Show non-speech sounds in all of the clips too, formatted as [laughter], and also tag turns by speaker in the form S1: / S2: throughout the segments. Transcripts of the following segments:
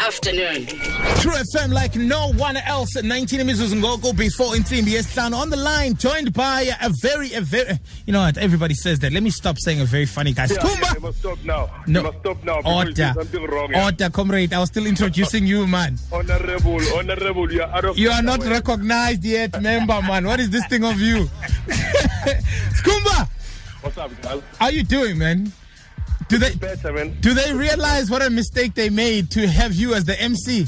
S1: afternoon.
S2: True FM like no one else. 19 minutes ngoku before insimbi yesihlanu on the line joined by a very a very you know what everybody says that. Let me stop saying a very funny guy.
S3: Yeah,
S2: Skumba.
S3: yeah, you must stop now.
S2: No.
S3: You must stop now. before you
S2: Order.
S3: do something wrong.
S2: Order, comrade. I was still introducing you, man.
S3: Honorable, honorable, you are out of
S2: You are not
S3: order.
S2: recognized yet, member, man. What is this thing of you? [laughs] Skumba,
S3: What's up, guys?
S2: how you doing, man? Do they
S3: Better, man.
S2: do they realize what a mistake they made to have you as the MC?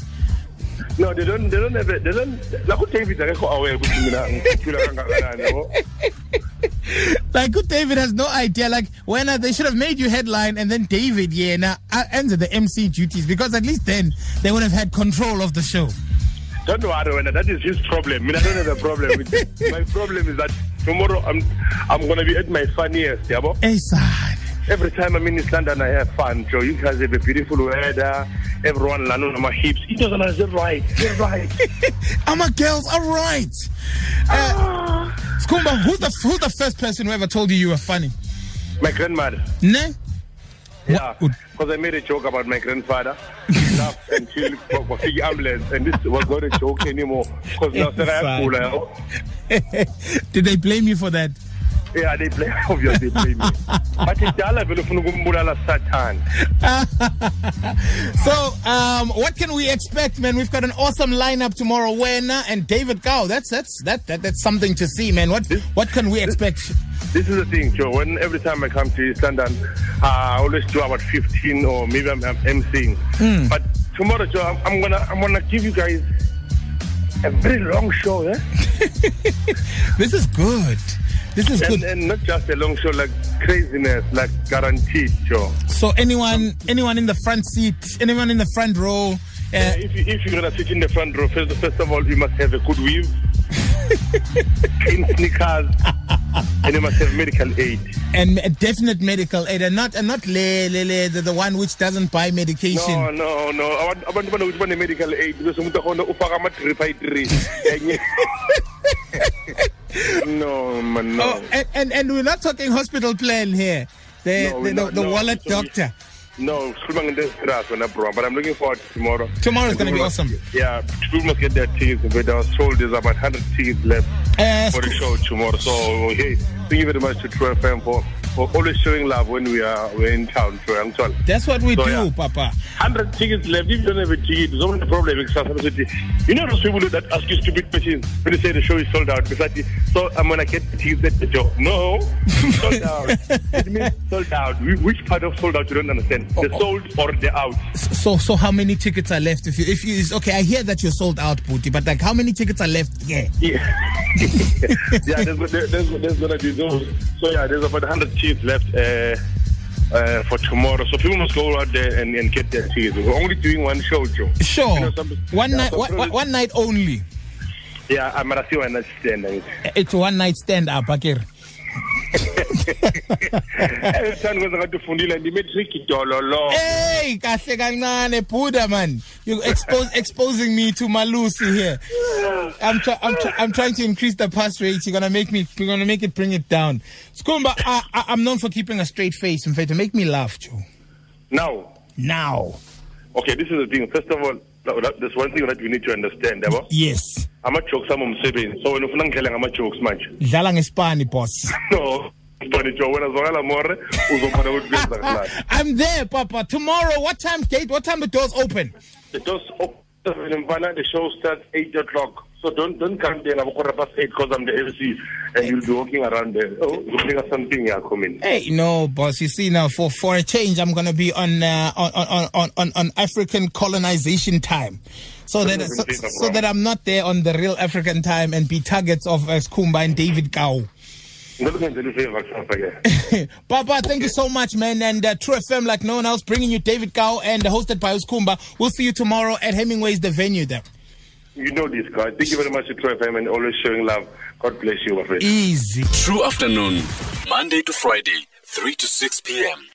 S3: No, they don't. They don't have. it. They don't. Like, David, I go away. ukuthi mina ngicula kangakanani, yabo?
S2: Like good David has no idea. Like when are, they should have made you headline and then David, yeah, now uh, ends the MC duties because at least then they would have had control of the show.
S3: Don't worry, man. That is his problem. I, mean, I don't have a problem with it. My problem is that tomorrow I'm I'm gonna be at my funniest, yabo.
S2: Hey, sad.
S3: Every time I'm in East London, I have fun, Joe. You guys have a beautiful weather. Everyone, I know my hips. It doesn't matter. Right, you're right.
S2: I'm a girls, all right. Uh, Skumba, who's the who's the first person who ever told you you were funny?
S3: My grandmother.
S2: Ne? [laughs]
S3: Yeah,
S2: would-
S3: because I made a joke about my grandfather. He laughed until the ambulance, and this was not a joke anymore. Because now that I have cool,
S2: Did they blame you for that?
S3: yeah, they play [laughs] obviously they play me. But it's dala vele ufuna ukumbulala Satan.
S2: So, um, what can we expect, man? We've got an awesome lineup tomorrow. Werner and David Gao. That's that's that, that that's something to see, man. What what can we expect?
S3: This is the thing, Joe. When every time I come to East London, uh, I always do about 15 or maybe I'm, I'm emceeing.
S2: Hmm.
S3: But tomorrow, Joe, I'm, I'm gonna I'm gonna give you guys a very long show, eh?
S2: This is good. This is
S3: And,
S2: good.
S3: and not just a long show, like craziness, like guaranteed, Joe.
S2: So, anyone anyone in the front seat, anyone in the front row, uh,
S3: If, you, if you're gonna sit in the front row, first, first of all, you must have a good
S2: [laughs]
S3: weave, clean sneakers, and you must have medical aid.
S2: and a definite medical aid, and not and not le, le, le, the, the one which doesn't buy medication.
S3: No, no, no. I want, I want to know which one the medical aid because I'm going to go three
S2: [laughs]
S3: by three. No, man, no.
S2: Oh, and, and and we're not talking hospital plan here. The
S3: No,
S2: the,
S3: we're
S2: the,
S3: not-
S2: the
S3: no,
S2: wallet
S3: so we-
S2: doctor.
S3: No, swimming in this grass when I brought, but I'm looking forward to tomorrow.
S2: Tomorrow's gonna be
S3: People must-
S2: awesome.
S3: Yeah, people must get their tickets, but I was told there's about 100 tickets left
S2: Uh,
S3: for the
S2: Sku-
S3: show tomorrow. So, hey, thank you very much to True FM for, for always showing love when we are we're in town. True, I'm sorry.
S2: That's what we
S3: So,
S2: do,
S3: yeah.
S2: Papa.
S3: 100 tickets left. If you don't have a ticket, there's only a problem. in South Africa City. You know those people that ask you stupid questions when you say the show is sold out. It's like, so I'm going to get the tickets at the door. No, sold out. it means sold out. Wh- Which part of sold out you don't understand? The sold or the out?
S2: So so how many tickets are left? If you if you it's okay, I hear that you're sold out, Booty, but like how many tickets are left? Yeah.
S3: Yeah, [laughs] yeah there's, there- there's, there's going to be those. So, yeah, there's about 100 tickets left uh, uh, for tomorrow. So, people must go out there and, and get their tickets. We're only doing one show, Joe.
S2: Sure.
S3: You know, some-
S2: one
S3: yeah,
S2: night
S3: some
S2: one,
S3: people-
S2: one, one night only.
S3: Yeah, I'm going to see one night stand. [laughs] and-
S2: It's one night stand up, Akir.
S3: Everything was about to fundila and the metric dololo.
S2: Hey, kahle kancane Buddha man. You expose [laughs] exposing me to Malusi here. I'm try, I'm try, I'm trying to increase the pass rate. You're gonna make me you're gonna make it bring it down. Skumba, I, I, I'm known for keeping a straight face. In fact, to make me laugh, Joe.
S3: Now,
S2: Now,
S3: okay, this is the thing. First of all, no, that- there's one thing that we need to understand, eh, yabo.
S2: yes,
S3: Ama-jokes amumsebenzi. So wena ufuna ngidlale ngama-jokes manje.
S2: dlala ngespani, boss.
S3: [laughs] No. Ngibone jo wena zwakala more eh, uzobona ukuthi kwenzakalani.
S2: I'm there, Papa. Tomorrow, what time gate? What time the doors open?
S3: The doors open mfana, the show starts 8 o'clock. So don't don't come there ngabo quarter past 8 because I'm the MC and you'll be walking around there. Oh, uzokunika something yakho mina.
S2: Hey, no, boss. You see now, for for a change, I'm gonna be on uh, on, on, on on on African colonization time, so that so, so that I'm not there on the real African time and be targets of uh, Skumba and David Gao.
S3: Ngizokwenza i-favor kusasa ke.
S2: Papa, thank you so much, man. And uh, True FM, like no one else, bringing you David Gao and uh, hosted by Skumba. We'll see you tomorrow at Hemingway's, the venue there.
S3: You know this guy. Thank you very much to Troy FM and always showing love. God bless you, my friend.
S2: Easy.
S4: True afternoon, Monday to Friday, 3 to 6 p.m.